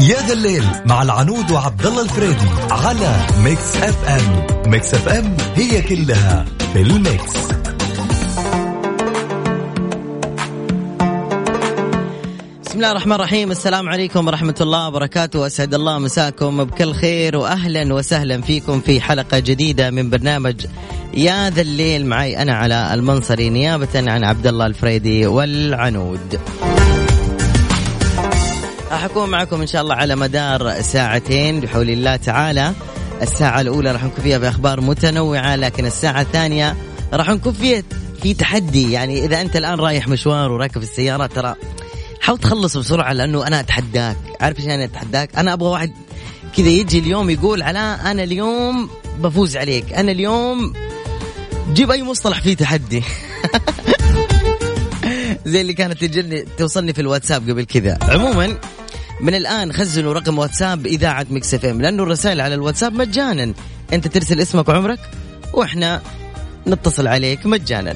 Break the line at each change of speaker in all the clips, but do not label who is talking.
يا ذا الليل مع العنود وعبد الله الفريدي على ميكس اف ام ميكس اف ام هي كلها في الميكس
بسم الله الرحمن الرحيم السلام عليكم ورحمة الله وبركاته أسعد الله مساكم بكل خير وأهلا وسهلا فيكم في حلقة جديدة من برنامج يا ذا الليل معي أنا على المنصري نيابة عن عبد الله الفريدي والعنود راح أكون معكم إن شاء الله على مدار ساعتين بحول الله تعالى الساعة الأولى راح نكون فيها بأخبار متنوعة لكن الساعة الثانية راح نكون فيها في تحدي يعني إذا أنت الآن رايح مشوار وراكب السيارة ترى حاول تخلص بسرعة لأنه أنا أتحداك عارف إيش أنا أتحداك أنا أبغى واحد كذا يجي اليوم يقول على أنا اليوم بفوز عليك أنا اليوم جيب أي مصطلح فيه تحدي زي اللي كانت تجلني توصلني في الواتساب قبل كذا عموما من الان خزنوا رقم واتساب اذاعه مكس اف ام لانه الرسائل على الواتساب مجانا انت ترسل اسمك وعمرك واحنا نتصل عليك مجانا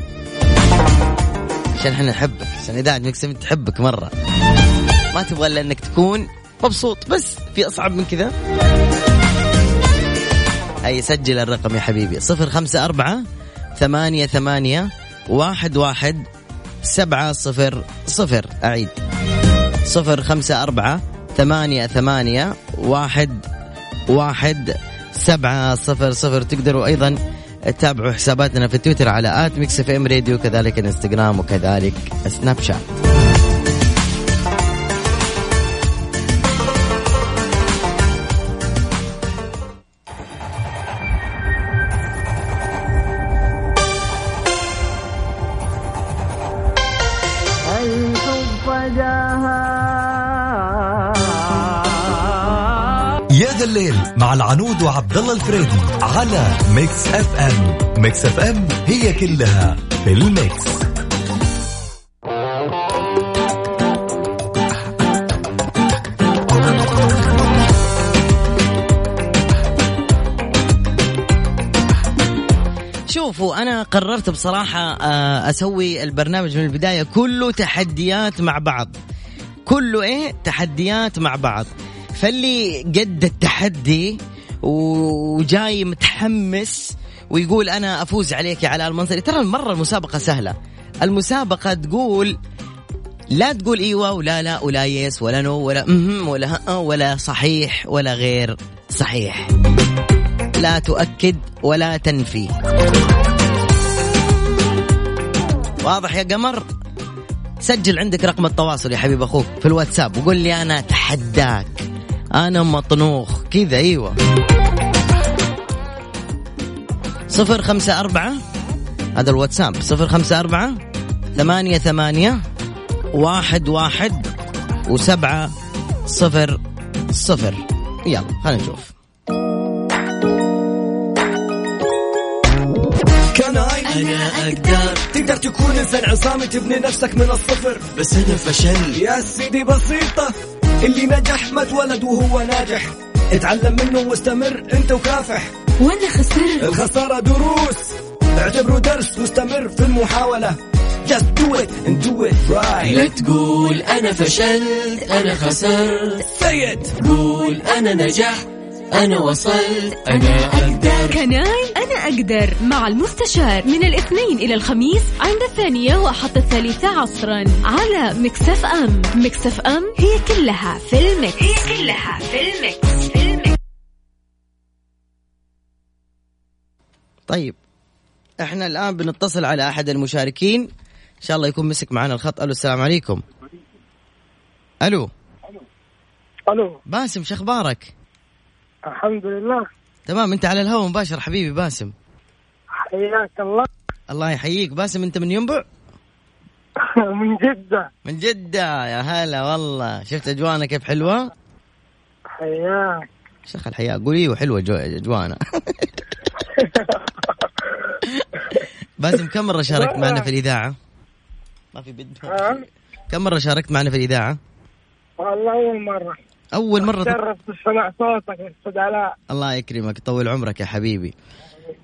عشان احنا نحبك عشان اذاعه مكس اف تحبك مره ما تبغى الا انك تكون مبسوط بس في اصعب من كذا اي سجل الرقم يا حبيبي صفر خمسة أربعة ثمانية ثمانية واحد واحد سبعة صفر صفر أعيد صفر خمسة أربعة ثمانية ثمانية واحد واحد سبعة صفر صفر تقدروا أيضا تتابعوا حساباتنا في تويتر على آت ميكس اف ام راديو كذلك الانستغرام وكذلك سناب شات
يا ذا الليل مع العنود وعبد الله الفريدي على ميكس اف ام ميكس اف ام هي كلها في الميكس
شوفوا أنا قررت بصراحة آه، أسوي البرنامج من البداية كله تحديات مع بعض كله إيه تحديات مع بعض فاللي قد التحدي و- وجاي متحمس ويقول أنا أفوز عليك يا علاء المنصري ترى المرة المسابقة سهلة المسابقة تقول لا تقول ايوه ولا لا ولا يس ولا نو ولا اهم ولا ها أه ولا صحيح ولا غير صحيح لا تؤكد ولا تنفي واضح يا قمر سجل عندك رقم التواصل يا حبيب اخوك في الواتساب وقول لي انا اتحداك انا مطنوخ كذا ايوه صفر خمسة أربعة هذا الواتساب صفر خمسة أربعة ثمانية ثمانية واحد واحد وسبعة صفر صفر يلا خلينا نشوف
كناي
أنا أقدر
تقدر تكون انسان عصامي تبني نفسك من الصفر
بس أنا فشل
يا سيدي بسيطة اللي نجح ما اتولد وهو ناجح اتعلم منه واستمر انت وكافح
وأنا خسرت
الخسارة دروس اعتبره درس واستمر في المحاولة Just do it and do it right
لا تقول أنا فشلت أنا خسرت
Say it
قول أنا نجحت أنا وصلت أنا أقدر
كناي أنا أقدر مع المستشار من الاثنين إلى الخميس عند الثانية وحتى الثالثة عصرا على مكسف أم مكسف أم هي كلها في المكس هي كلها في المكس في المكس
طيب احنا الان بنتصل على احد المشاركين ان شاء الله يكون مسك معنا الخط الو السلام عليكم الو
الو
باسم شو اخبارك
الحمد لله
تمام انت على الهواء مباشر حبيبي باسم
حياك الله
الله يحييك باسم انت من ينبع
من جدة
من جدة يا هلا والله شفت اجوانا كيف حلوة
حياك
شيخ الحياة قول ايوه حلوة جو- اجوانا باسم كم مرة شاركت معنا في الاذاعة؟ ما في بد
ها؟
كم مرة شاركت معنا في الاذاعة؟
والله أول مرة
اول مرة
شرفت سمع صوتك يا أستاذ علاء
الله يكرمك طول عمرك يا حبيبي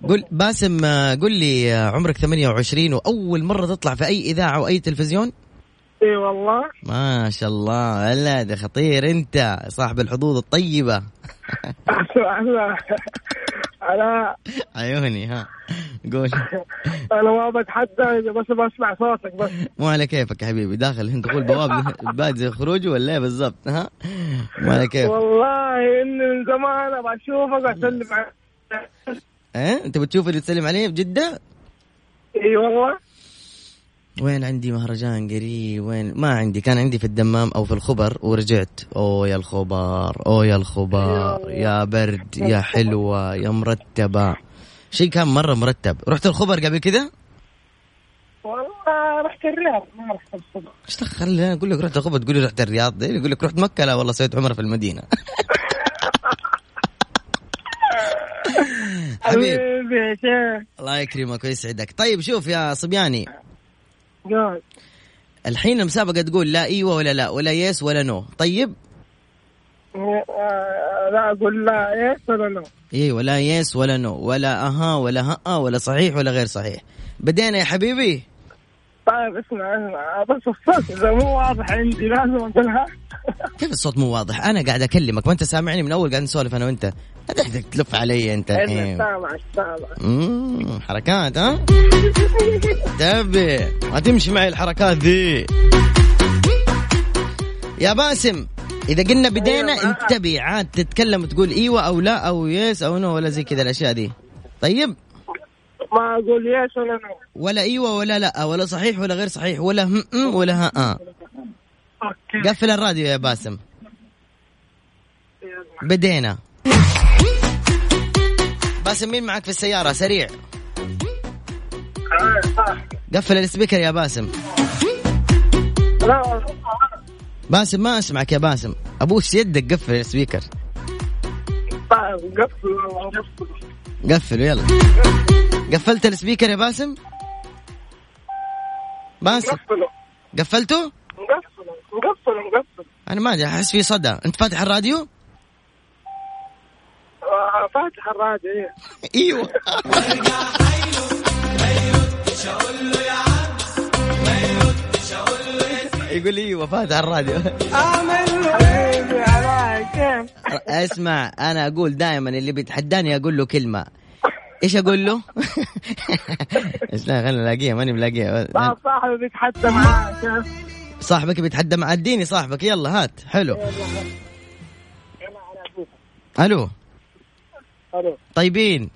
قل باسم آه، قل لي آه، عمرك 28 واول مره تطلع في اي اذاعه واي تلفزيون
اي والله
ما شاء الله هلا ده خطير انت صاحب الحظوظ الطيبه
انا انا
عيوني ها قول
انا ما بتحدى بس بسمع صوتك بس
مو على كيفك يا حبيبي داخل انت تقول بواب باد زي خروجه ولا ايه بالضبط ها مو على كيف
والله اني من زمان ابغى اشوفك واسلم عليك
اه انت بتشوف اللي تسلم عليه في جده
اي والله
وين عندي مهرجان قريب وين ما عندي كان عندي في الدمام او في الخبر ورجعت اوه يا الخبر اوه يا الخبر يا برد يا حلوه يا مرتبه شيء كان مره مرتب رحت الخبر قبل كذا
والله رحت الرياض ما رحت الصبح
ايش دخل انا اقول لك رحت الخبر تقول لي رحت الرياض إيه؟ يقول لك رحت مكه لا والله سويت عمره في المدينه حبيب
حبيبي يا شيخ
الله يكرمك ويسعدك طيب شوف يا صبياني
قول
الحين المسابقه تقول لا ايوه ولا لا ولا يس ولا نو طيب
آه، لا اقول لا ايه ولا لا
ايوه ولا يس ولا نو ولا اها ولا ها آه، ولا صحيح ولا غير صحيح بدينا يا حبيبي
طيب اسمع اسمع بس الصوت اذا مو واضح عندي لازم اقولها
كيف الصوت مو واضح انا قاعد اكلمك وانت سامعني من اول قاعد نسولف انا وانت قاعد تلف علي انت
إيه،
الحين
سامع سامع
مم، حركات ها تبي ما تمشي معي الحركات ذي يا باسم اذا قلنا بدينا
أيوة معاك.
انتبه عاد تتكلم وتقول ايوه او لا او يس او نو ولا زي كذا الاشياء دي طيب
ما اقول يس ولا نو
ولا ايوه ولا لا ولا صحيح ولا غير صحيح ولا هم أم ولا ها آه.
اوكي
قفل الراديو يا باسم
يلا.
بدينا باسم مين معك في السياره سريع
آه، صح.
قفل السبيكر يا باسم
لا
باسم ما اسمعك يا باسم ابوس يدك قفل السبيكر
طيب قفل والله، قفل.
قفل يلا قفلت السبيكر يا باسم باسم
قفله
قفلته
مقفله مقفله مقفله
انا ما ادري احس في صدى انت فاتح الراديو
آه، فاتح الراديو إيه.
ايوه يقول لي ايوه فاتح الراديو
حبيبي على كيف
اسمع انا اقول دائما اللي بيتحداني اقول له كلمه ايش اقول له؟ ايش لا خلينا نلاقيها ماني ملاقيها
طيب صاحبي بيتحدى معاه كيف
صاحبك بيتحدى مع اديني صاحبك يلا هات حلو
يلا على أبوك.
الو
الو
طيبين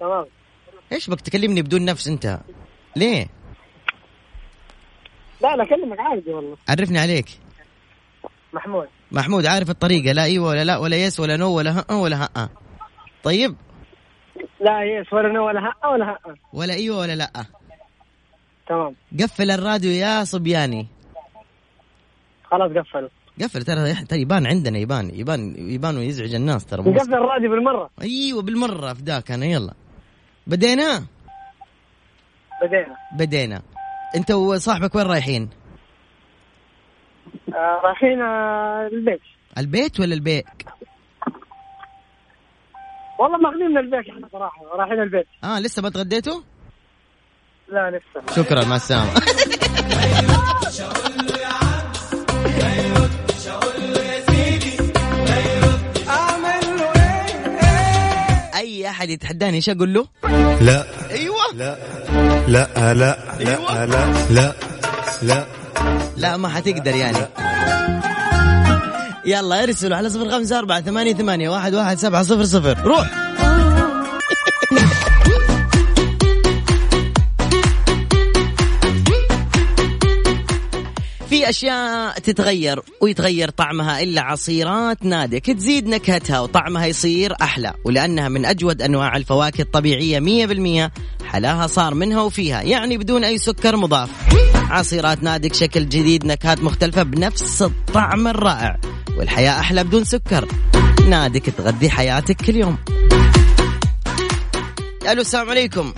تمام
ايش بك تكلمني بدون نفس انت ليه
لا لا اكلمك عادي والله
عرفني عليك
محمود
محمود عارف الطريقه لا ايوه ولا لا ولا يس ولا نو ولا ها ولا ها طيب
لا يس ولا نو ولا ها ولا ها
ولا ايوه ولا لا
تمام
قفل الراديو يا صبياني
خلاص قفل
قفل ترى ترى يبان عندنا يبان يبان يبان ويزعج الناس ترى مو-
نقفل الراديو بالمره
ايوه بالمره في ذاك انا يلا بدينا
بدينا
بدينا انت وصاحبك وين رايحين
آه، رايحين آه، البيت
البيت ولا البيت
والله ماخذين من البيت احنا صراحه رايحين البيت
اه لسه ما تغديتوا
لا لسه
شكرا مع السلامه اي احد يتحداني ايش اقول له
لا
ايوه
لا لا لا لا لا لا لا
لا ما حتقدر يعني يلا ارسلوا على صفر خمسة أربعة ثمانية ثمانية واحد واحد سبعة صفر صفر روح في أشياء تتغير ويتغير طعمها إلا عصيرات نادك تزيد نكهتها وطعمها يصير أحلى ولأنها من أجود أنواع الفواكه الطبيعية 100% حلاها صار منها وفيها يعني بدون أي سكر مضاف عصيرات نادك شكل جديد نكهات مختلفة بنفس الطعم الرائع والحياة أحلى بدون سكر نادك تغذي حياتك كل يوم ألو السلام عليكم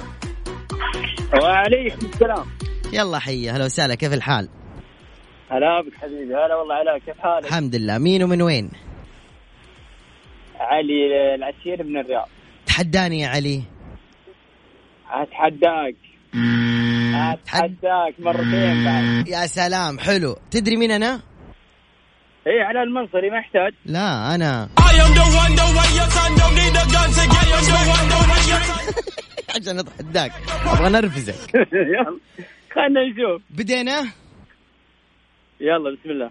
وعليكم السلام
يلا حيا هلا وسهلا كيف الحال
هلا بك حبيبي هلا والله علاء كيف حالك؟
الحمد لله مين ومن وين
علي العسير من الرياض
تحداني يا علي
اتحداك
مم.
اتحداك مرتين بعد
يا سلام حلو تدري مين انا؟
اي إيه، على المنصري ما يحتاج
لا انا عشان اتحداك ابغى نرفزك
يلا خلنا نشوف
بدينا
يلا بسم الله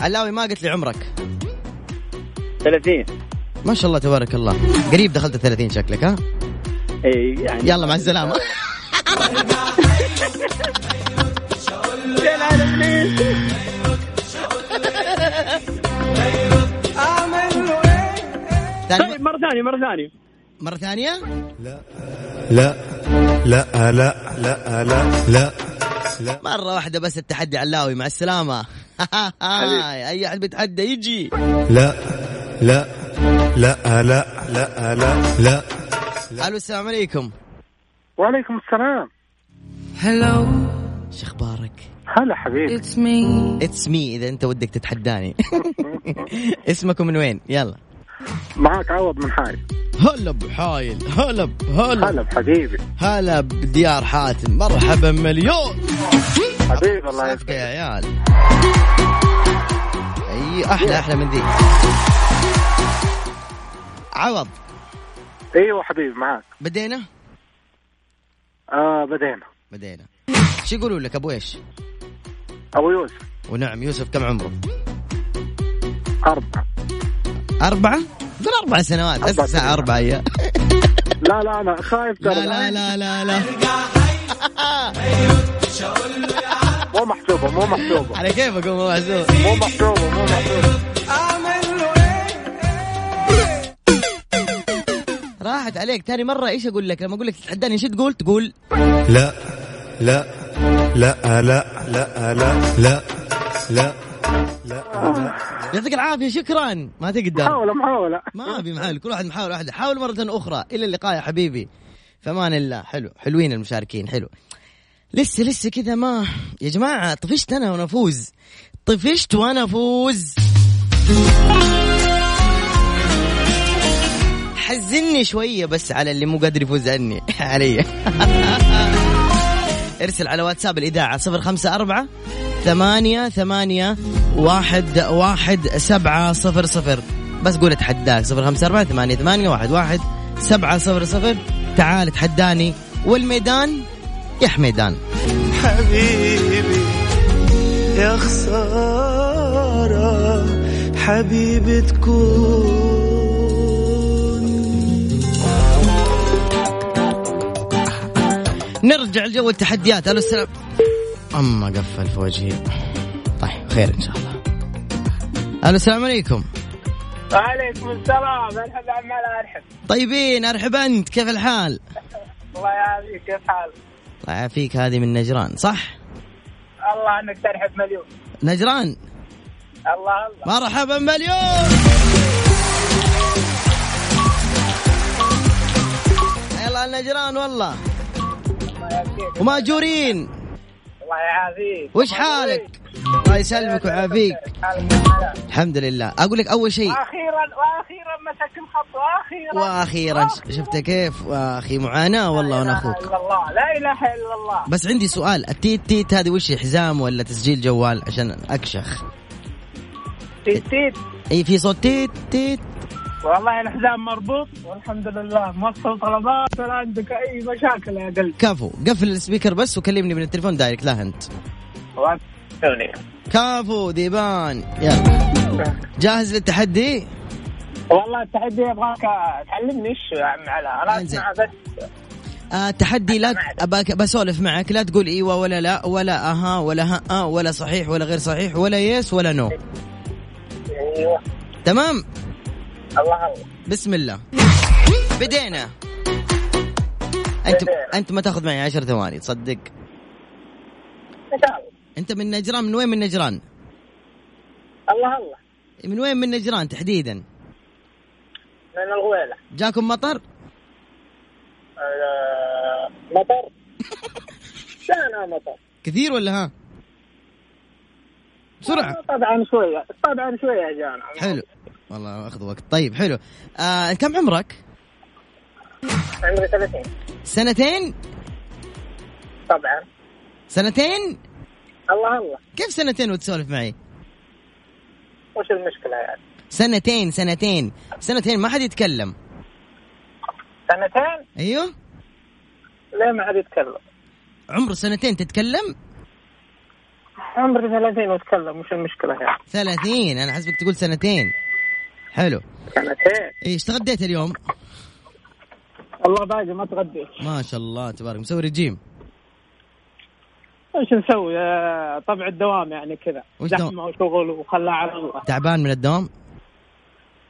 علاوي ما قلت لي عمرك
30
ما شاء الله تبارك الله قريب دخلت ال 30 شكلك ها
اي يعني
يلا مع السلامه ثاني
طيب مره ثانيه مره ثانيه
مرة ثانية؟
لا لا لا لا لا لا لا
مرة واحدة بس التحدي علاوي مع السلامة أي أحد بيتحدى يجي
لا لا لا لا لا لا لا
ألو السلام عليكم
وعليكم السلام
شو أخبارك؟
هلا حبيبي
اتس مي إذا أنت ودك تتحداني اسمكم من وين؟ يلا
معاك عوض من حاري
هلا بحايل هلا ب- هلا
هلا بحبيبي
هلا بديار حاتم مرحبا مليون
حبيبي الله
صفقة
يسعدك
يا عيال اي احلى احلى من ذي عوض
ايوه حبيبي معاك
بدينا
آه بدينا
بدينا شو يقولوا لك ابو ايش
ابو يوسف
ونعم يوسف كم عمره
اربعه
أربعة دول أربع سنوات أربع
أربع
ساعة
سنوات.
أربعة هي
لا لا انا خايف ترى
لا لا لا لا لا
مو محسوبه مو محسوبه
على كيفك أم محسوب
مو محسوبه مو محسوبه
راحت عليك تاني مرة إيش أقول لك لما أقول لك تتحداني إيش تقول تقول
لا لا لا لا لا لا لا لا
يعطيك العافية شكرا ما تقدر
محاوله محاوله
ما في محاول كل واحد محاول واحدة حاول مرة أخرى إلى اللقاء يا حبيبي فمان الله حلو حلوين المشاركين حلو لسه لسه كذا ما يا جماعة طفشت أنا وأنا أفوز طفشت وأنا أفوز حزني شوية بس على اللي مو قادر يفوز عني علي ارسل على واتساب الإذاعة صفر خمسة أربعة ثمانية ثمانية واحد واحد سبعة صفر صفر بس قول اتحداك صفر خمسة أربعة ثمانية ثمانية واحد واحد سبعة صفر صفر تعال اتحداني والميدان يا حميدان
حبيبي يا خسارة حبيبي تكون
نرجع لجو التحديات الو السلام اما قفل في وجهي طيب خير ان شاء الله الو السلام عليكم
وعليكم السلام ارحب عمال ارحب
طيبين ارحب انت كيف الحال؟
الله يعافيك كيف حالك؟
الله يعافيك هذه من نجران صح؟
الله عنك ترحب مليون
نجران
الله الله
مرحبا مليون يلا نجران والله وماجورين
الله يعافيك
وش حالك؟ الله يسلمك ويعافيك الحمد لله اقول لك اول شيء
واخيرا واخيرا مسك الخط واخيرا
واخيرا ش- شفت كيف اخي معاناه والله وانا اخوك
الله لا اله الا الله
بس عندي سؤال التيت تيت هذه وش هي؟ حزام ولا تسجيل جوال عشان اكشخ
تيت
اي في صوت تيت تيت
والله الحزام مربوط والحمد لله موصل طلبات ولا عندك اي مشاكل يا قلبي
كفو قفل السبيكر بس وكلمني من التليفون دايركت لا انت
وأكلوني.
كفو ديبان يلا جاهز للتحدي؟
والله التحدي يبغاك تعلمني ايش يا عم علاء انا
انزل.
اسمع بس
آه، تحدي لا أباك بسولف معك لا تقول ايوه ولا لا ولا اها ولا ها آه، ولا صحيح ولا غير صحيح ولا يس ولا نو
ايوه
تمام
الله الله
بسم الله بدينا انت
بدينا.
انت ما تاخذ معي عشر ثواني تصدق
إن شاء الله.
انت من نجران من وين من نجران
الله الله
من وين من نجران تحديدا
من الغويله
جاكم مطر
آه، مطر لا انا مطر
كثير ولا ها بسرعه
طبعا شويه طبعا شويه يا جانا
حلو والله اخذ وقت طيب حلو آه كم عمرك
عمري 30
سنتين
طبعا
سنتين
الله الله
كيف سنتين وتسولف معي
وش المشكله يعني
سنتين سنتين سنتين ما حد يتكلم
سنتين
ايوه
ليه ما حد يتكلم
عمره سنتين تتكلم
عمري 30 واتكلم وش المشكله يعني
ثلاثين انا حسبك تقول سنتين حلو
سنتين
ايش تغديت اليوم
والله باقي ما تغديت
ما شاء الله تبارك مسوي رجيم
ايش نسوي آه، طبع الدوام يعني كذا
وش
زحمه وشغل وخلاه على الله
تعبان من الدوام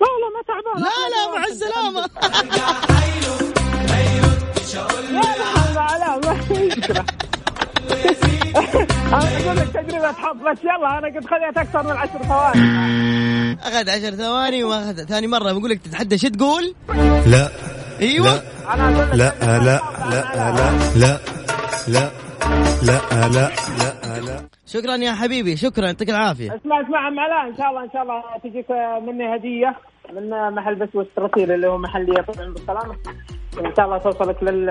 لا والله ما تعبان
لا لا مع السلامه
لا لا لا ما في مشكله انا اقول لك تجربه حظ بس يلا انا قد خذيت اكثر من عشر ثواني
اخذ عشر ثواني واخذ ثاني مره بقول لك تتحدى شو تقول
لا
ايوه
انا اقول لك
لا آه، لا لا آه، لا لا لا لا لا لا لا
شكرا يا حبيبي شكرا يعطيك العافيه
اسمع اسمع ام علاء ان شاء الله ان شاء الله تجيك آه، مني هديه من محل بسوس الرسيل اللي هو محل يطعم بالسلامه ان شاء الله توصلك لل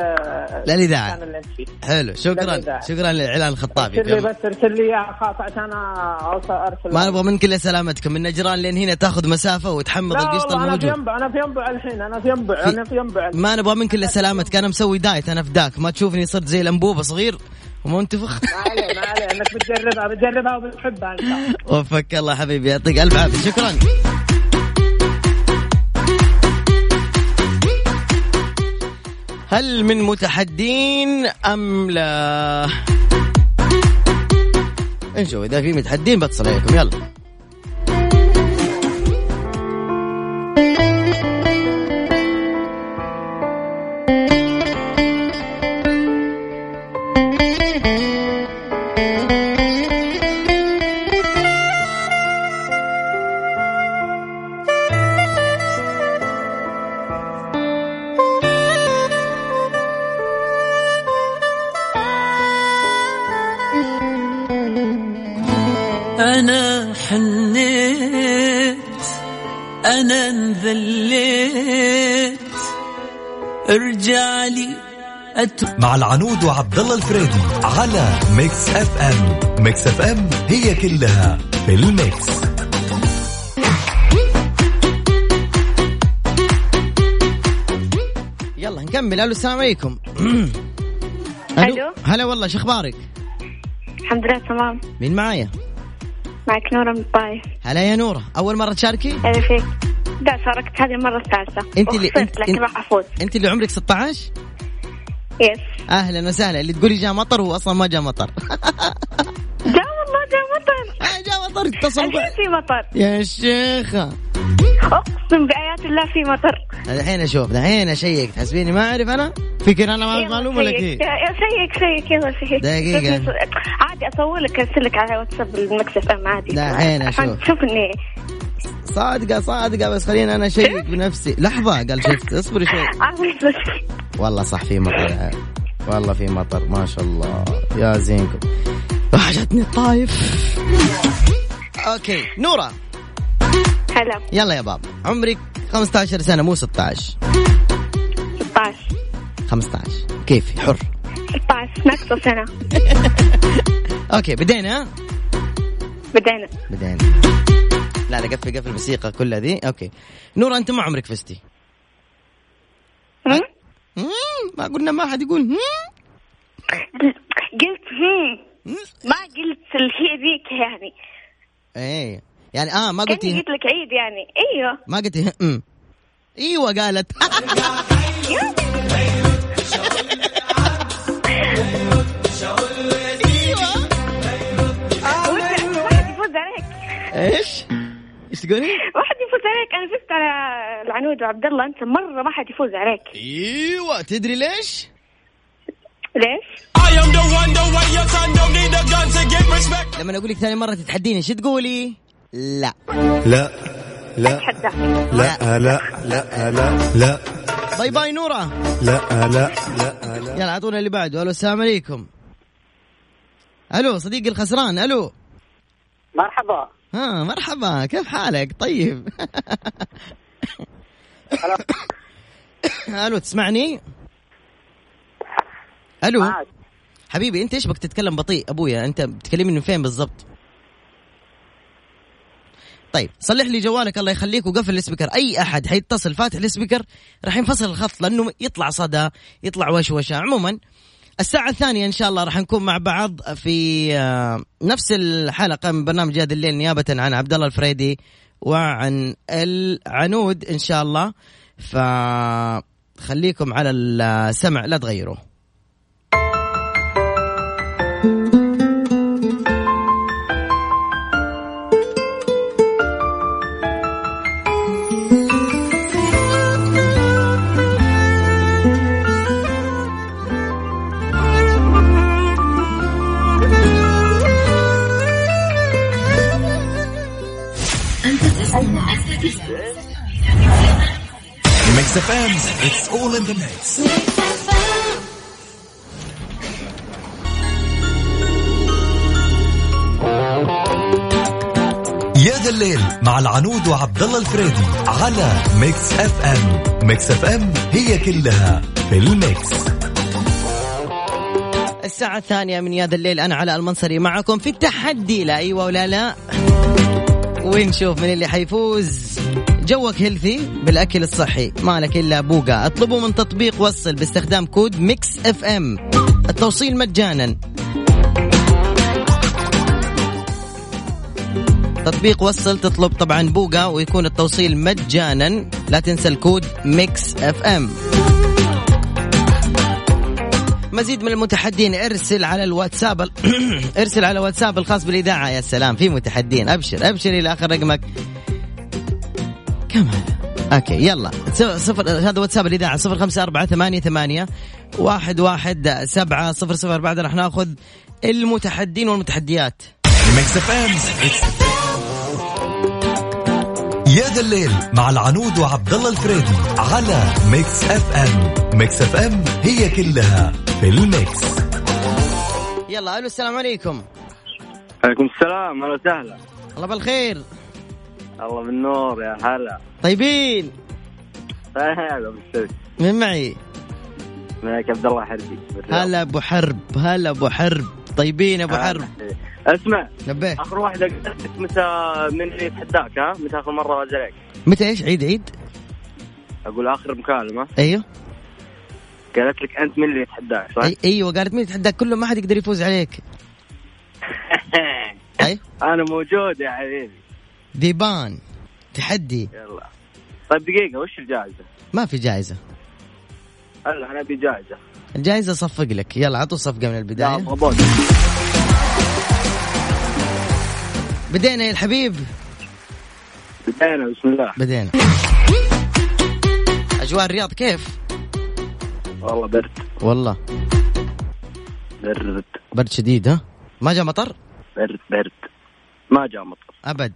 للإذاعة.
المكان اللي أنت فيه.
حلو شكرا
لا.
شكرا للاعلان الخطابي
ارسل لي بس ارسل لي اياها خاص عشان اوصل ارسل
ما نبغى منك الا سلامتكم من نجران لين هنا تاخذ مسافه وتحمض
لا
القشطه
والله انا في
الموجود
ينبع انا في ينبع الحين انا في ينبع انا في ينبع الحين.
ما نبغى منك الا سلامتك انا مسوي دايت انا فداك ما تشوفني صرت زي الانبوبه صغير ومنتفخ
ما عليه ما عليه انك بتجربها بتجربها وبتحبها ان شاء الله
وفك الله حبيبي يعطيك الف عافيه شكرا هل من متحدين ام لا نشوف اذا في متحدين بتصل عليكم يلا
أنا حنيت أنا انذليت ارجع لي أتوب
مع العنود وعبد الله الفريدي على ميكس اف ام ميكس اف ام هي كلها في الميكس
يلا نكمل الو السلام عليكم
ألو.
هلا والله شو اخبارك
الحمد لله تمام
مين معايا
معك نورة من الطايف
هلا يا نوره اول مره تشاركي
هذا فيك لا شاركت هذه المرة الثالثة
انت اللي
وخسرت، لكن راح أفوز
انت اللي عمرك 16
يس
اهلا وسهلا اللي تقولي جاء مطر هو اصلا ما جاء مطر
جاء والله جاء مطر
آه، جاء مطر اتصل
الحين
ب-
في مطر
يا شيخة
أقسم بآيات الله في مطر
الحين اشوف الحين اشيك تحسبيني ما اعرف انا فكر انا ما اعرف
يلا
معلومه ولا
شيك.
كيف
يا شيك شيك يلا شيك
دقيقة.
شوفني ص- عادي أصور لك أرسل لك على واتساب المكسف أم عادي
لا، حين
عشان
أشوف.
تشوف إني
صادقه صادقه بس خليني انا اشيك بنفسي لحظه قال شفت اصبري شوي والله صح في مطر يا عيال. والله في مطر ما شاء الله يا زينكم وحشتني الطايف اوكي نوره
هلا
يلا يا بابا عمرك 15 سنه مو 16
16
15 كيفي حر
16 ناقصة سنة
اوكي بدينا ها؟
بدينا
بدينا لا لا قفل قفل الموسيقى كلها ذي اوكي نورا انت ما عمرك فزتي أه؟
هم؟
مم، ما قلنا ما حد يقول مم.
قلت هم
مم.
ما قلت اللي هي ذيك يعني
ايه يعني اه ما
كاني
قلتي
قلت لك عيد يعني ايوه
ما قلتي هم. ايوه قالت
واحد يفوز عليك
ايش؟ ايش تقولي؟
واحد يفوز عليك انا فزت على العنود وعبد الله انت مره ما حد يفوز عليك
ايوه تدري ليش؟
ليش؟
لما اقول لك ثاني مره تتحديني شو تقولي؟ لا
لا لا
اتحداك
لا لا لا لا
باي باي نوره
لا لا لا لا
يلا اعطونا اللي بعده الو السلام عليكم الو صديقي الخسران الو
مرحبا
ها مرحبا كيف حالك طيب الو تسمعني الو
Ah,
حبيبي انت ايش بك تتكلم بطيء ابويا انت بتكلمني من فين بالضبط طيب صلح لي جوالك الله يخليك وقفل السبيكر اي احد حيتصل فاتح السبيكر راح ينفصل الخط لانه يطلع صدى يطلع وشوشه عموما الساعة الثانية إن شاء الله راح نكون مع بعض في آه، نفس الحلقة من برنامج هذا الليل نيابة عن عبد الله الفريدي وعن العنود إن شاء الله فخليكم على السمع لا تغيروا
ميكس اف ام اتس اول ان ذا ميكس يا ذا الليل مع العنود وعبد الله الفريدي على ميكس اف ام ميكس اف ام هي كلها في الميكس
الساعة الثانية من يا ذا الليل أنا علاء المنصري معكم في التحدي لا أيوة ولا لا ونشوف من اللي حيفوز جوك هيلثي بالأكل الصحي مالك إلا بوقا اطلبه من تطبيق وصل باستخدام كود ميكس اف ام التوصيل مجانا تطبيق وصل تطلب طبعا بوقا ويكون التوصيل مجانا لا تنسى الكود ميكس اف ام مزيد من المتحدين ارسل على الواتساب ال- ارسل على الواتساب الخاص بالاذاعه يا سلام في متحدين ابشر ابشر الى اخر رقمك كم هذا؟ اوكي يلا س- صفر هذا واتساب الاذاعه صفر خمسة أربعة ثمانية ثمانية واحد واحد سبعة صفر صفر بعد راح ناخذ المتحدين والمتحديات
ميكس اف ام يا ذا الليل مع العنود وعبد الله الفريدي على ميكس اف ام ميكس اف ام هي كلها في الميكس
يلا الو السلام عليكم
عليكم السلام اهلا وسهلا
الله بالخير
الله بالنور يا هلا
طيبين
هلا بالسلك
من معي
معك عبد الله حربي
هلا ابو حرب هلا ابو حرب طيبين ابو
هلا.
حرب
اسمع
نبيه
اخر واحده قلت لك متى من اللي يتحداك ها متى اخر مره راجع عليك
متى ايش عيد عيد
اقول اخر مكالمه
ايوه
قالت لك انت من اللي يتحداك صح؟
أي ايوه قالت مين يتحداك كله ما حد يقدر يفوز عليك أي.
انا موجود يا حبيبي
ذيبان تحدي
يلا طيب دقيقه وش الجائزه؟
ما في جائزه
هلا انا ابي جائزه
الجائزه صفق لك يلا عطوا صفقه من البدايه
ابغى بوز
بدينا يا الحبيب
بدينا بسم الله
بدينا اجواء الرياض كيف
والله برد
والله
برد
برد شديد ها ما جاء مطر
برد برد ما جاء مطر
ابد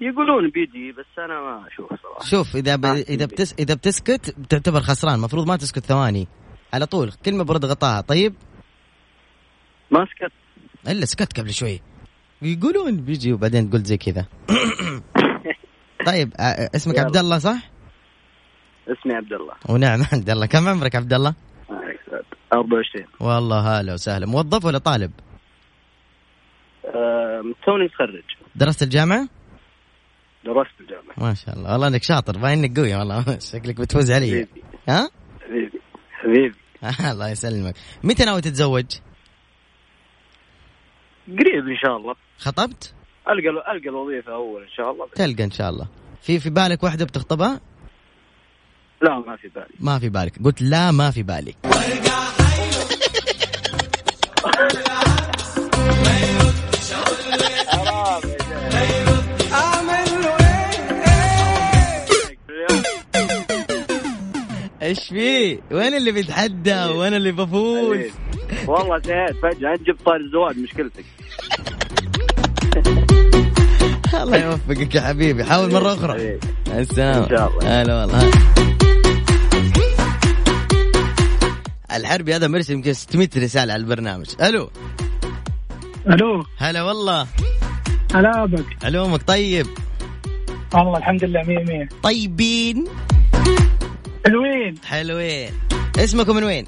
يقولون بيجي بس انا ما اشوف صراحه
شوف اذا ب... اذا بتس... اذا بتسكت بتعتبر خسران المفروض ما تسكت ثواني على طول كلمه برد غطاها طيب
ما سكت
الا سكت قبل شوي يقولون بيجي وبعدين قلت زي كذا طيب آه، اسمك
يلا.
عبد الله صح
اسمي عبد الله
ونعم عبد الله كم عمرك عبد الله
24
والله هلا وسهلا موظف ولا طالب
آه، توني متخرج
درست الجامعه
درست في الجامعة
ما شاء الله والله انك شاطر باين انك قوي والله شكلك بتفوز علي
حبيبي
ها
حبيبي حبيبي
الله يسلمك متى ناوي تتزوج
قريب ان شاء الله
خطبت
القى القى الوظيفة اول ان شاء الله
تلقى ان شاء الله في في بالك واحده بتخطبها
لا ما في بالي
ما في بالك قلت لا ما في بالي ايش في وين اللي بيتحدى وانا اللي بفوز
والله سهيت فجأة انت جبت طاري الزواج مشكلتك
الله يوفقك يا حبيبي حاول مره اخرى السلام
إيه. إن شاء الله.
هلا والله الحربي هذا مرسل يمكن 600 رساله على البرنامج الو
الو
هلا والله
هلا بك
الو امك طيب
والله الحمد لله مية مية
طيبين
حلوين
حلوين اسمكم من وين؟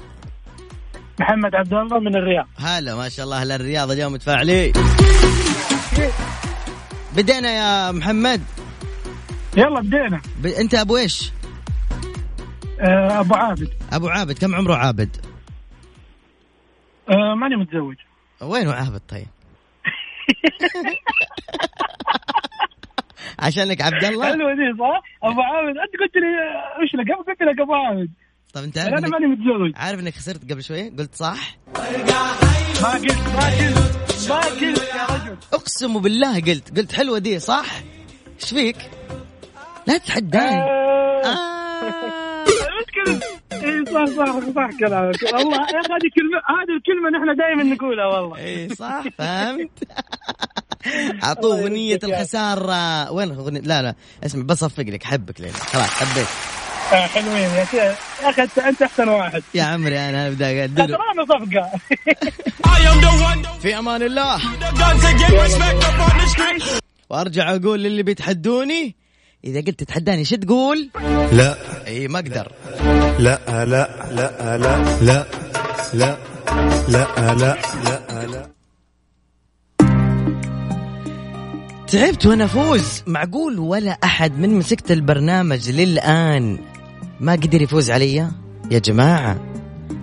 محمد عبد الله من الرياض
هلا ما شاء الله اهل الرياض اليوم متفاعلين بدينا يا محمد
يلا بدينا
ب... انت ابو ايش؟
آه، ابو عابد
ابو عابد كم عمره عابد؟
آه، ماني متزوج
وين عابد طيب؟ عشانك عبد الله؟
حلوه دي صح؟ ابو عابد انت قلت لي آه، وش لك قبل قلت لك ابو عابد
طب انت عارف
انا
إنك-
ماني متزوج
عارف انك خسرت قبل شوي قلت صح
ما قلت ما قلت ما قلت يا رجل
اقسم بالله قلت قلت حلوه دي صح ايش فيك لا آه. تتحداني
مش آه. كذا اي صح صح صح كلامك والله يا اخي هذه كلمه هذه الكلمه نحن دائما نقولها والله
اي إيه، صح فهمت اعطوه اغنيه الخساره وين اغنيه لا لا اسمع بصفق لك حبك ليلى خلاص حبيت
آه، حلوين يا اخي يا اخي انت انت احسن واحد
يا عمري انا ابدا أدلل.
ترانا صفقه
في امان الله وارجع اقول للي بيتحدوني اذا قلت تتحداني شو تقول؟
لا
اي ما اقدر
لا لا لا لا لا لا لا لا لا لا
تعبت وانا افوز معقول ولا احد من مسكت البرنامج للان ما قدر يفوز علي يا جماعه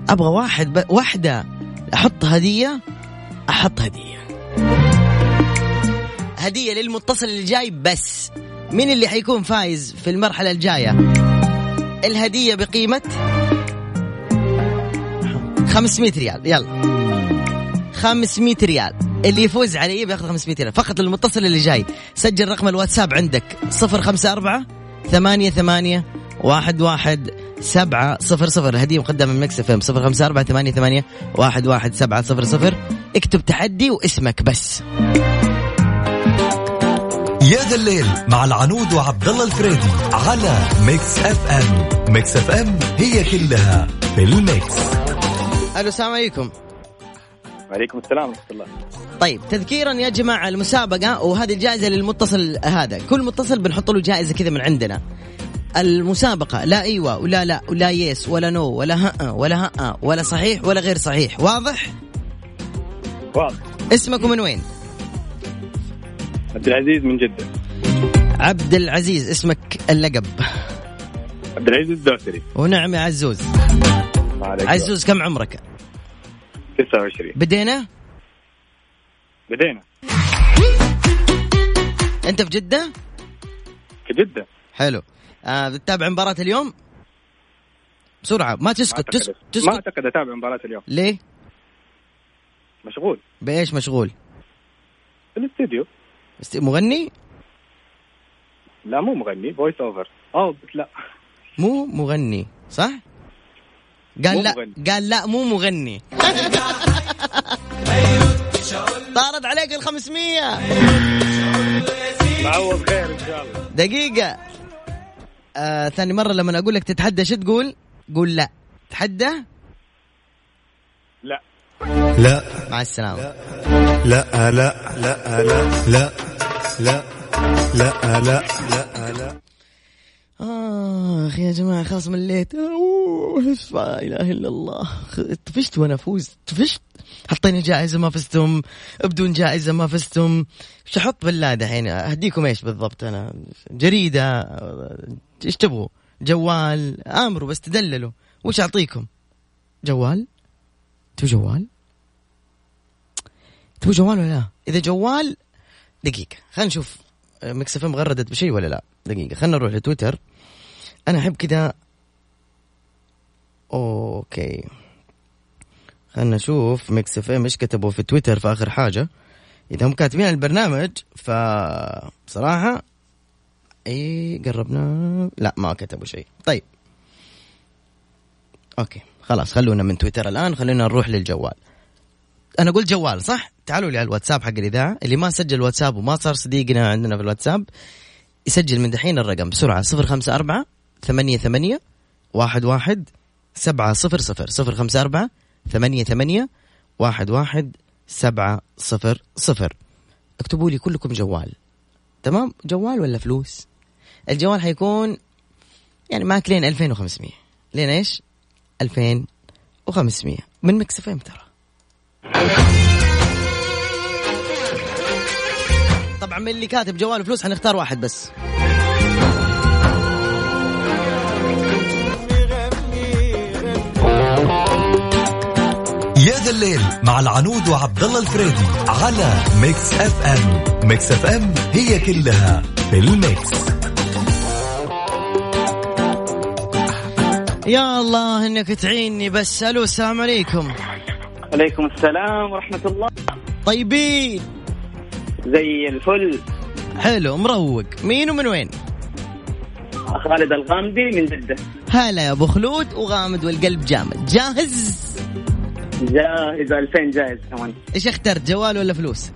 ابغى واحد ب... واحده احط هديه احط هديه هديه للمتصل اللي جاي بس مين اللي حيكون فايز في المرحله الجايه الهديه بقيمه 500 ريال يلا 500 ريال اللي يفوز عليه بياخذ 500 ريال فقط للمتصل اللي جاي سجل رقم الواتساب عندك 054 ثمانية ثمانية واحد واحد سبعة صفر صفر الهدية مقدمة من مكس اف ام صفر خمسة أربعة ثمانية ثمانية واحد واحد سبعة صفر صفر اكتب تحدي واسمك بس
يا ذا الليل مع العنود وعبد الله الفريدي على ميكس اف ام ميكس اف ام هي كلها في الميكس
ألو السلام عليكم
وعليكم السلام ورحمه الله
طيب تذكيرا يا جماعة المسابقة وهذه الجائزة للمتصل هذا كل متصل بنحط له جائزة كذا من عندنا المسابقة لا أيوة ولا لا ولا يس ولا نو ولا ها ولا ها ولا صحيح ولا غير صحيح واضح؟
واضح
اسمكم من وين؟
عبد العزيز من جده
عبد العزيز اسمك اللقب
عبد العزيز الدوسري
ونعم يا عزوز
أيوة. الله عليك
عزوز كم عمرك؟
29
بدينا؟
بدينا
أنت في جدة؟
في جده
حلو آه بتتابع مباراة اليوم؟ بسرعة ما
ما
تسكت تس-
أعتقد- ما
تسكت
اعتقد اتابع مباراه اليوم
ليه؟
مشغول
بإيش مشغول؟
في الاستديو
است- مغني؟
لا مو مغني فويس اوفر او بس لا
مو مغني صح؟ قال
مو
لا
مغني.
قال لا مو مغني طارد عليك ال 500
معوض خير ان شاء الله
دقيقة آه ثاني مرة لما أقول لك تتحدى شو تقول؟ قول لا تحدى
لا
لا
مع السلامة
لا لا لا لا لا لا لا لا لا
آخ يا جماعة خلاص مليت أوه، لا إله إلا الله طفشت وأنا أفوز طفشت حطيني جائزة ما فزتم بدون جائزة ما فزتم شو أحط بالله دحين أهديكم إيش بالضبط أنا جريدة إيش تبغوا جوال آمروا بس تدللوا وش أعطيكم جوال تبوا جوال تبوا جوال ولا لا إذا جوال دقيقة خلينا نشوف آه، ميكس اف ام غردت بشيء ولا لا دقيقة خلينا نروح لتويتر انا احب كذا اوكي خلنا نشوف ميكس اف ام ايش كتبوا في تويتر في اخر حاجة اذا هم كاتبين عن البرنامج ف بصراحة اي قربنا لا ما كتبوا شيء طيب اوكي خلاص خلونا من تويتر الان خلينا نروح للجوال انا قلت جوال صح تعالوا لي على الواتساب حق الاذاعه اللي ما سجل الواتساب وما صار صديقنا عندنا في الواتساب يسجل من دحين الرقم بسرعه 054 88 11 700 054 88 11 700 اكتبوا لي كلكم جوال تمام جوال ولا فلوس الجوال حيكون يعني ماكلين 2500 لين ايش 2500 من مكسفين ترى طبعا من اللي كاتب جوال وفلوس حنختار واحد بس
يا ذا الليل مع العنود وعبد الله الفريدي على ميكس اف ام ميكس اف ام هي كلها في الميكس
يا الله انك تعيني بس الو السلام عليكم
عليكم السلام ورحمة الله
طيبين
زي الفل
حلو مروق مين ومن وين
خالد الغامدي من جدة
هلا يا ابو خلود وغامد والقلب جامد جاهز
جاهز 2000 جاهز كمان
ايش اخترت جوال ولا فلوس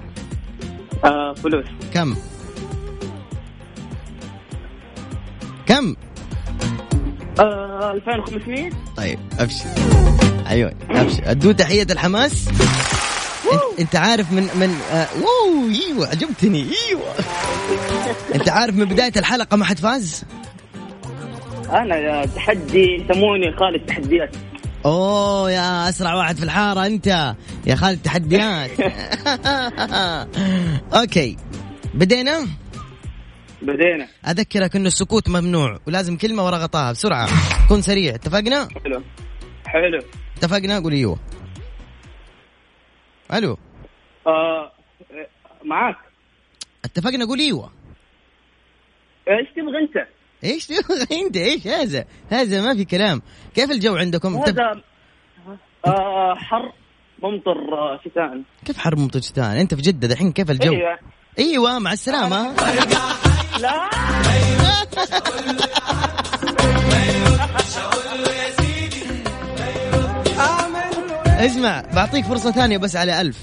آه فلوس
كم كم
آه 2500
طيب ابشر ايوه ابشر ادو تحيه الحماس انت, انت عارف من من آه واو ايوه عجبتني ايوه انت عارف من بدايه الحلقه ما حد فاز
انا يا تحدي يسموني خالد تحديات
اوه يا اسرع واحد في الحاره انت يا خالد تحديات اوكي بدينا
بدينا
اذكرك انه السكوت ممنوع ولازم كلمه ورا غطاها بسرعه كن سريع اتفقنا
حلو حلو
اتفقنا قول ايوه الو
آه معاك
اتفقنا قول ايوه
ايش تبغى انت؟
ايش تبغى انت ايش هذا هذا ما في كلام كيف الجو عندكم طيب،
هذا آه حر ممطر آه، شتاء
كيف حرب مطجتان انت في جده دحين كيف الجو
ايوه
ايوه مع السلامه
لا
اسمع بعطيك فرصه ثانيه بس على ألف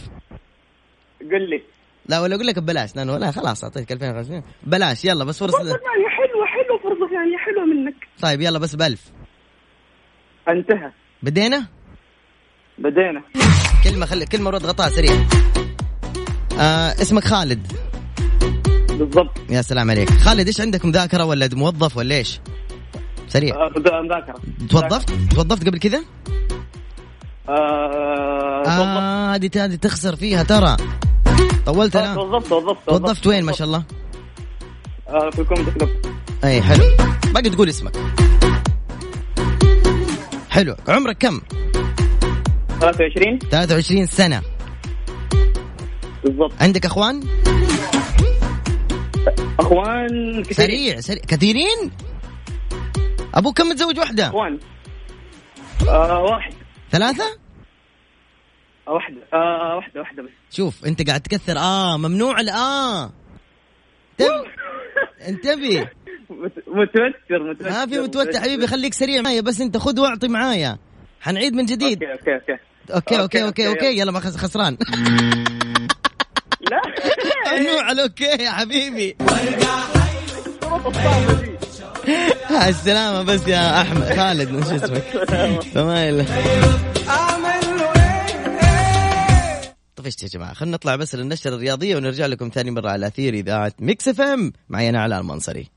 قل لي
لا ولا اقول لك ببلاش لانه لا خلاص اعطيتك 2500 بلاش يلا بس
فرصة
فرصه
ثانية حلوة حلوة فرصة ثانية حلوة منك
طيب يلا بس بألف
انتهى
بدينا
بدينا
كلمه خلي كلمه رد غطاء سريع آه اسمك خالد
بالضبط
يا سلام عليك خالد ايش عندك مذاكره ولا موظف ولا ايش سريع
آه، بدا- مذاكرة
توظفت توظفت قبل كذا
آه، توظفت
اه هذه هذه تخسر فيها ترى طولت
آه،
انا
توظفت توظفت
وظفت وين ما شاء الله
آه، في الكوميدي كلوب
اي حلو باقي تقول اسمك حلو عمرك كم
23
23 سنه
بالضبط
عندك اخوان
اخوان كثيرين
سريع سريع كثيرين ابوك كم متزوج وحده
اخوان آه، واحد
ثلاثه
آه، واحدة آه، واحدة واحدة بس
شوف انت قاعد تكثر اه ممنوع الاه انتبه انتبه
مت- متوتر متوتر
ما في متوتر حبيبي خليك سريع معايا بس انت خذ واعطي معايا حنعيد من جديد
اوكي اوكي اوكي
اوكي اوكي اوكي اوكي يلا ما خس- خسران
لا
ممنوع أيوة، على اوكي يا حبيبي على السلامة بس يا احمد خالد شو اسمك فما إلا. طفشت طيب يا جماعة خلينا نطلع بس للنشرة الرياضية ونرجع لكم ثاني مرة على أثير إذاعة ميكس اف ام معي أنا علاء المنصري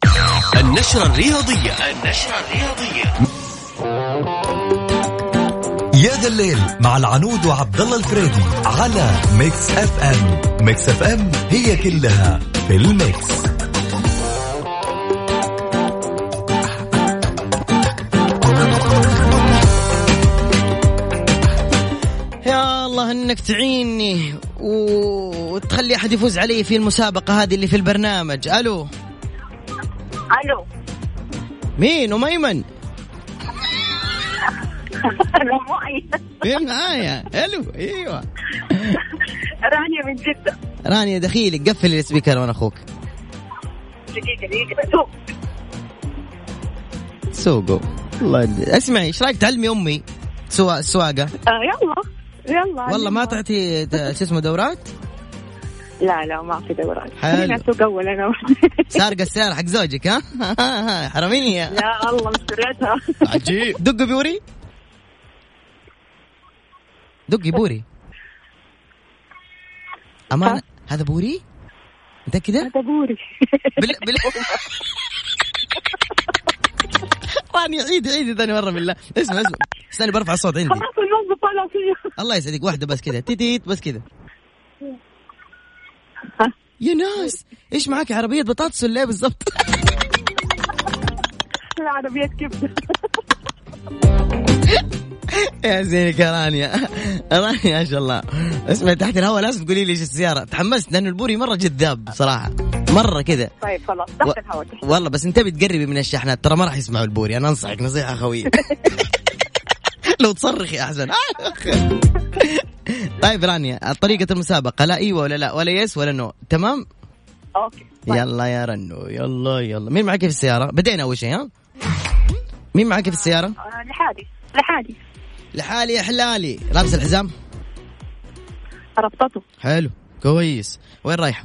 النشرة الرياضية
النشرة الرياضية
يا ذا الليل مع العنود وعبد الله الفريدي على ميكس اف ام ميكس اف ام هي كلها في الميكس
يا الله انك تعيني و- وتخلي احد يفوز علي في المسابقة هذه اللي في البرنامج الو
الو
مين وميمن
انا معي
مين معايا الو ايوه
رانيا من جدة
رانيا دخيلك قفل السبيكر وانا اخوك
دقيقة دقيقة بسوق
سوقو والله إن- اسمعي ايش رايك تعلمي امي سوا السواقه
آه يلا يلا
والله ما تعطي ت- شو اسمه دورات
لا لا ما في دورات
حلو.
خلينا اسوق اول انا
سارقه السياره حق زوجك ها حرميني
لا الله مسرتها
عجيب دق بوري دقي بوري امان هذا بوري متاكده هذا
بوري
بال... بال... راني عيد عيد ثاني مره بالله اسمع اسمع استني برفع الصوت عندي
خلاص الموظف طالع فيه
الله يسعدك واحده بس كذا تيتيت بس كذا يا ناس ايش معك عربيه بطاطس ولا إيه بالضبط
العربية كبدة
يا زينك يا رانيا رانيا ما شاء الله اسمع تحت الهواء لازم تقولي لي ايش السياره تحمست لانه البوري مره جذاب بصراحه مره كذا
طيب خلاص
و-
تحت الهواء تحت
والله بس انتبهي تقربي من الشحنات ترى ما راح يسمعوا البوري انا انصحك نصيحه خويه لو تصرخي احسن طيب رانيا طريقه المسابقه لا ايوه ولا لا ولا يس ولا نو تمام
اوكي
طيب.
يلا يا رنو يلا يلا مين معك في السياره بدينا اول شيء ها مين معك في السياره
آه، لحالي لحالي
لحالي يا حلالي لابس الحزام
ربطته
حلو كويس وين رايحه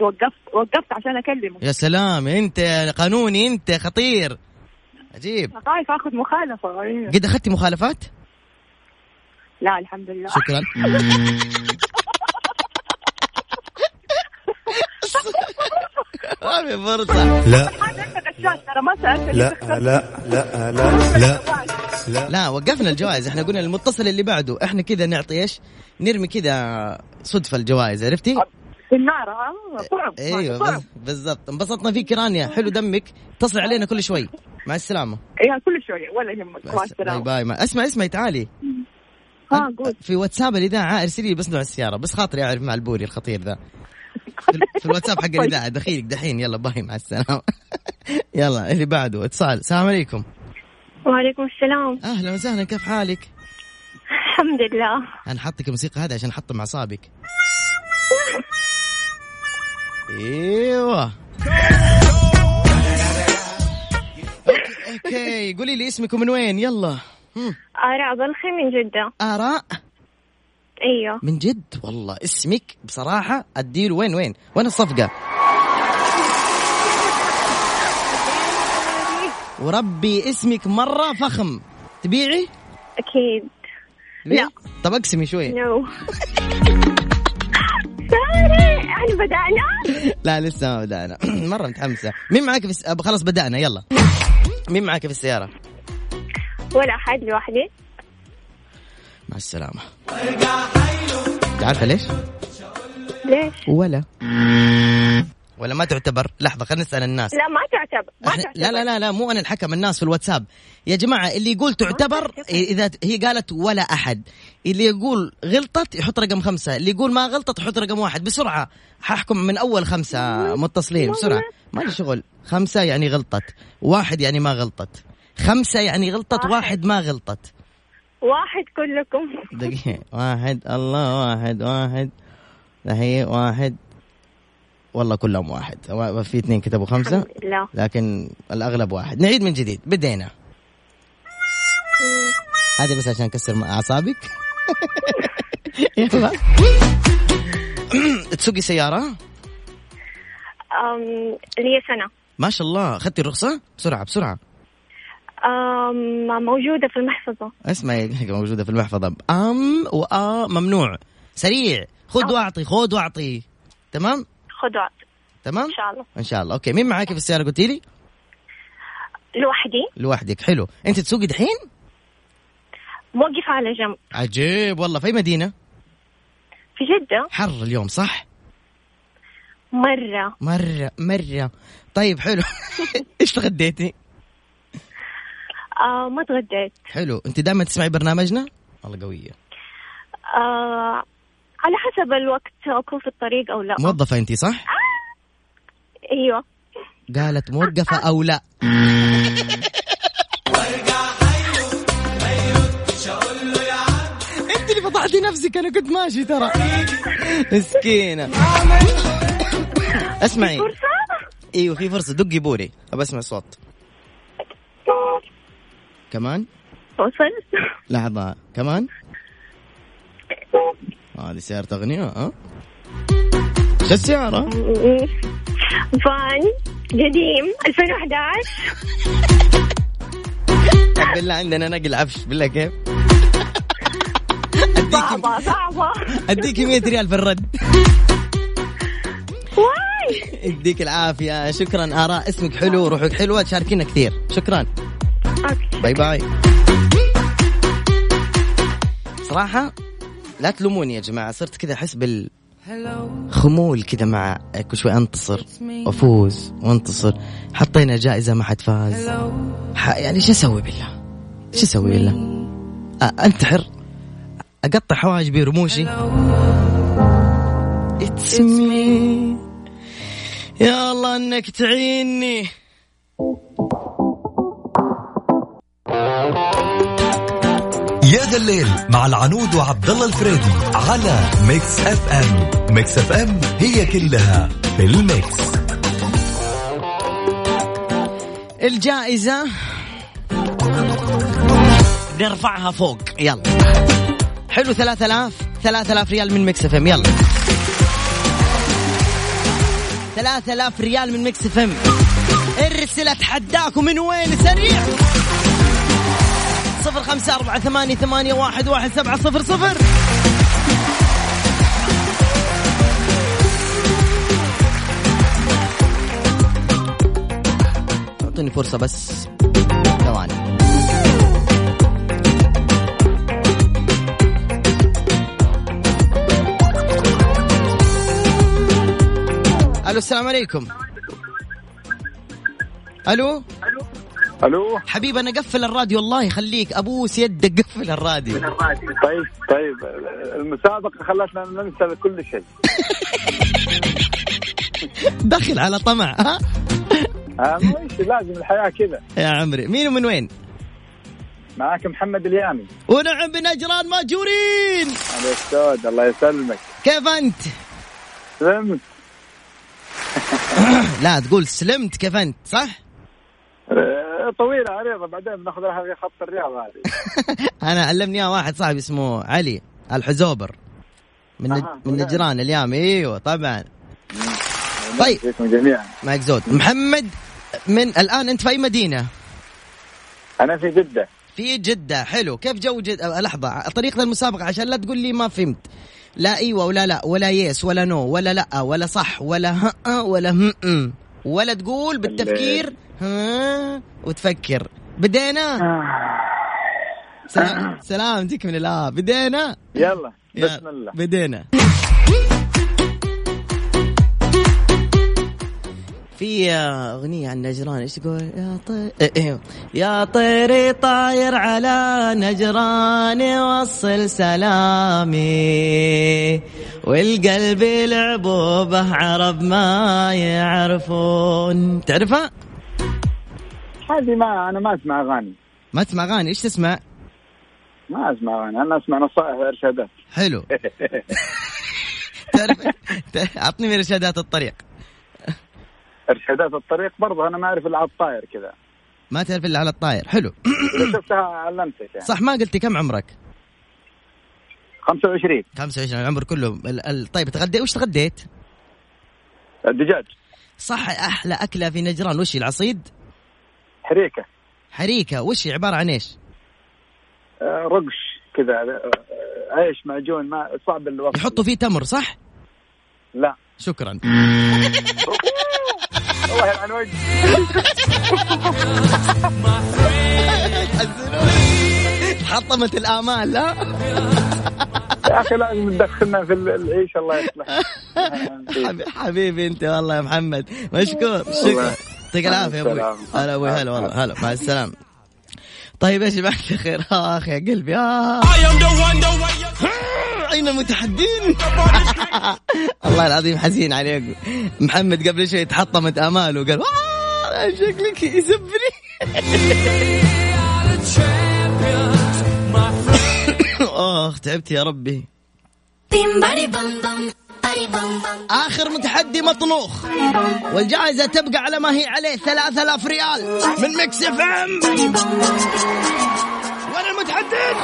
وقفت وقفت عشان اكلمه
يا سلام انت قانوني انت خطير عجيب
خايف اخذ مخالفة أيوة.
قد اخذتي مخالفات
لا الحمد لله
شكرا ما في فرصة
لا
غشاش ترى ما سالت
لا لا لا لا لا لا
لا وقفنا الجوائز احنا قلنا المتصل اللي بعده احنا كذا نعطي ايش نرمي كذا صدفة الجوائز عرفتي
في النار ها صعب
ايوه
صعب.
بز- بالضبط انبسطنا فيك رانيا حلو دمك اتصل علينا كل شوي مع السلامة
ايوه كل شوية ولا يهمك مع
باي
السلامة
باي ما. اسمع اسمعي تعالي
ها قول
في واتساب الاذاعه ارسلي لي بس نوع السياره بس خاطري اعرف مع البوري الخطير ذا في- في الواتساب حق الاذاعه دخيلك دحين يلا باي مع السلامه يلا اللي بعده اتصال السلام عليكم
وعليكم السلام
اهلا وسهلا كيف حالك؟
الحمد لله
انا حطك الموسيقى هذه عشان احطم اعصابك ايوه أوكي- اوكي قولي لي اسمك ومن وين يلا هم.
آراء بلخي من جدة
اراء
أيوه
من جد والله اسمك بصراحة اديله وين وين وين الصفقة وربي اسمك مرة فخم تبيعي
أكيد
لا طب اقسمي شوي
نو سوري احنا بدأنا
لا لسه ما بدأنا مرة متحمسة مين معاك في الس... أب- خلاص بدأنا يلا مين معاك في السيارة
ولا أحد لوحدي
مع السلامة عارفة ليش
ليش؟
ولا ولا ما تعتبر لحظة خلينا نسأل الناس
لا ما تعتبر ما
احنا
تعتبر
أه، لا لا لا لا مو انا الحكم الناس في الواتساب يا جماعه اللي يقول تعتبر اذا هي قالت ولا احد اللي يقول غلطت يحط رقم خمسة اللي يقول ما غلطت يحط رقم واحد بسرعه ححكم من اول خمسة متصلين بسرعه ما لي شغل خمسة يعني غلطت واحد يعني ما غلطت خمسة يعني غلطت واحد ما غلطت
واحد كلكم
دقيقة واحد الله واحد واحد هي واحد والله كلهم واحد وا- في اثنين كتبوا خمسة
الحمد لله.
لكن الأغلب واحد نعيد من جديد بدينا هذا بس عشان أكسر م- أعصابك يلا تسوقي سيارة
أم لي سنة
ما شاء الله أخذتي الرخصة بسرعة بسرعة
أم موجودة في المحفظة
اسمعي موجودة في المحفظة أم وأ ممنوع سريع خذ واعطي خذ واعطي تمام
خذ وعط
تمام
إن شاء الله
ان شاء الله اوكي مين معاك في السياره قلتي لي
لوحدي
لوحدك حلو انت تسوقي دحين
موقفة على جنب
عجيب والله في أي مدينه
في جدة
حر اليوم صح
مرة
مره مره طيب حلو ايش تغديتي
آه ما تغديت
حلو انت دائما تسمعي برنامجنا والله قويه
آه على حسب الوقت أكون في الطريق أو لا
موظفه انت صح
أيوه
قالت موقفه او لا انت اللي فضحتي نفسك انا كنت ماشي ترى مسكينه اسمعي ايوه في فرصه دقي بوري ابى اسمع صوت كمان
وصل
لحظه كمان هذه سيارة أغنية ها؟ شو السيارة؟
فان قديم 2011
طب طيب بالله عندنا نقل عفش بالله كيف؟
صعبة صعبة
أديك 100 ريال في الرد
واي
يديك العافية شكرا آراء اسمك حلو روحك حلوة تشاركينا كثير شكرا
أوكي.
باي باي صراحة لا تلوموني يا جماعة صرت كذا أحس بال خمول كذا مع كل شوي انتصر وافوز وانتصر حطينا جائزة ما حد فاز ح... يعني شو اسوي بالله؟ شو اسوي بالله؟ أ- انتحر اقطع حواجبي رموشي It's me. يا الله انك تعيني
يا ذا الليل مع العنود وعبد الله الفريدي على ميكس اف ام ميكس اف ام هي كلها في الميكس
الجائزة نرفعها فوق يلا حلو 3000 3000 ريال من مكس اف ام يلا 3000 ريال من مكس اف ام ارسل اتحداكم من وين سريع صفر خمسة أربعة ثمانية ثمانية واحد واحد سبعة صفر صفر أعطوني فرصة بس ثواني الو السلام عليكم الو
الو
حبيب انا قفل الراديو الله يخليك ابوس يدك قفل الراديو
طيب طيب المسابقه خلتنا ننسى كل شيء
دخل على طمع ها
آه، ماشي لازم الحياه كذا
يا عمري مين ومن وين
معاك محمد اليامي
ونعم بنجران ماجورين
ابو السود الله يسلمك
كيف انت
سلمت
لا تقول سلمت كيف انت صح
آه، طويله عريضه بعدين بناخذ لها في خط الرياض هذه
انا علمني اياه واحد صاحبي اسمه علي الحزوبر من نج-
أها،
من
ونعم.
نجران اليامي ايوه طبعا طيب
فيكم جميعا
معك زود محمد من الان انت في اي مدينه
انا في جده
في جدة حلو كيف جو جدة أه، لحظة طريقة المسابقة عشان لا تقول لي ما فهمت لا ايوه ولا لا ولا يس ولا نو ولا لا ولا صح ولا ها ولا هم أم. ولا تقول بالتفكير ها وتفكر بدينا سلام سلامتك من الله بدينا
يلا
يلا،
بسم الله
بدينا في آه، أغنية عن نجران إيش تقول يا طير إيه، إيه. يا طيري طاير على نجران وصل سلامي والقلب لعبوا به عرب ما يعرفون تعرفها؟
هذه ما انا ما اسمع اغاني
ما تسمع أغاني إيش تسمع؟
ما اسمع اغاني انا اسمع نصائح وارشادات
حلو تعرف أعطني من إرشادات الطريق
ارشادات الطريق برضه انا ما اعرف الا على الطاير كذا
ما تعرف إلا على الطاير حلو
اذا شفتها علمتك يعني
صح ما قلتي كم عمرك؟
25
25 العمر كله ال- ال- طيب تغدي وش تغديت؟
الدجاج
صح احلى اكله في نجران وش هي؟ العصيد؟
حريكه
حريكه وش هي؟ عباره عن ايش؟
آه، رقش كذا آه، عيش معجون ما صعب الوصف
يحطوا فيه تمر صح؟
لا
شكرا
والله يعني يلعن وجهي
حطمت الامال لا
يا اخي لازم تدخلنا في ال- العيش الله يصلح
حبي- حبيبي انت والله يا محمد مشكور شكرا يعطيك العافيه يا ابوي هلا ابوي هلا والله هلا مع السلامه طيب يا جماعه الخير اخ يا قلبي آه. اين المتحدين الله العظيم حزين عليكم محمد قبل شوي تحطمت اماله قال "آه، شكلك يسبني اخ تعبت يا ربي اخر متحدي مطنوخ والجائزه تبقى على ما هي عليه 3000 ريال من ميكس اف ام وين المتحدين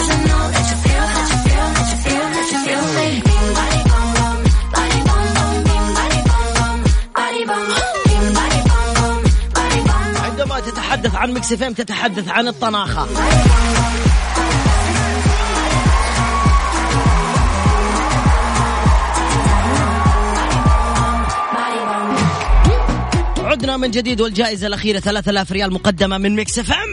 Body bum bum, body bum bum, body bum bum.
مكس اف ام تتحدث عن الطناخه عدنا من جديد والجائزة الأخيرة 3000 ريال مقدمة من ميكس اف ام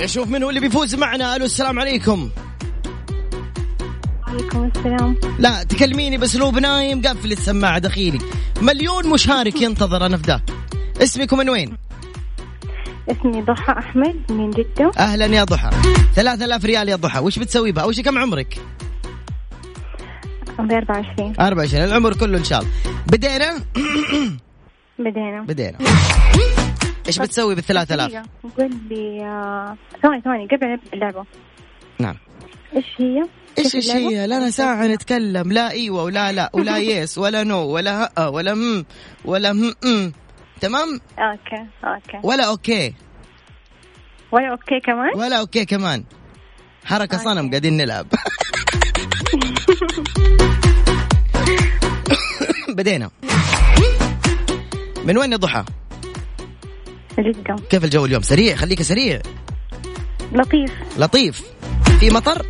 نشوف من هو اللي بيفوز معنا ألو السلام عليكم
عليكم السلام
لا تكلميني بأسلوب نايم قفل السماعة دخيلي مليون مشارك ينتظر أنا في ده اسمك من وين؟
اسمي ضحى أحمد من جدة
أهلا يا ضحى 3000 ريال يا ضحى وش بتسوي بها؟ أول شيء كم عمرك؟
عمري 24
24 العمر كله إن شاء الله بدينا؟
بدينا
بدينا ايش بتسوي بال 3000
قول لي آه، ثواني ثواني قبل نبدأ اللعبة
نعم
ايش هي؟
ايش
كيف
ايش
اللعبة؟
هي؟ لنا ساعة نتكلم لا ايوه ولا لا ولا يس ولا نو ولا ها ولا م ولا م م تمام؟
اوكي اوكي
ولا اوكي
ولا اوكي كمان؟
ولا اوكي كمان حركة صنم قاعدين نلعب بدينا من وين يا ضحى؟
جدة
كيف الجو اليوم؟ سريع خليك سريع
لطيف
لطيف في مطر؟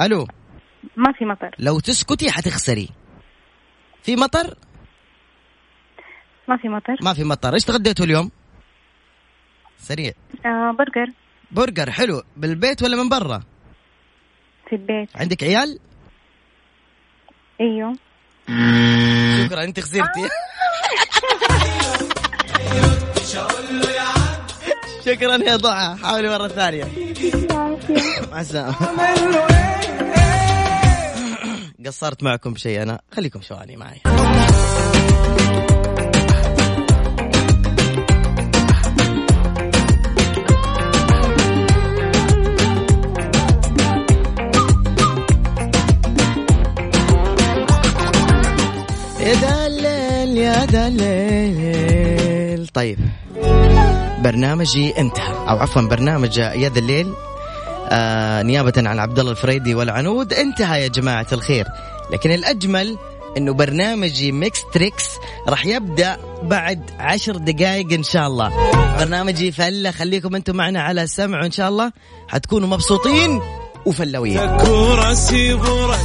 الو
ما في مطر
لو تسكتي حتخسري في مطر؟
ما في مطر
ما في مطر، ايش تغديتوا اليوم؟ سريع
آه برجر
برجر حلو بالبيت ولا من برا؟
في البيت
عندك عيال؟
ايوه
شكرا انت خسرتي شكرا يا ضحى حاولي مره ثانيه مع السلامه قصرت معكم بشيء انا خليكم شواني معي يا ذا الليل يا ذا الليل طيب برنامجي انتهى او عفوا برنامج يا ذا الليل آه نيابة عن عبد الله الفريدي والعنود انتهى يا جماعة الخير لكن الأجمل انه برنامجي ميكس تريكس راح يبدا بعد عشر دقائق ان شاء الله برنامجي فله خليكم انتم معنا على سمع وان شاء الله حتكونوا مبسوطين وفلويين
كورة سيبورة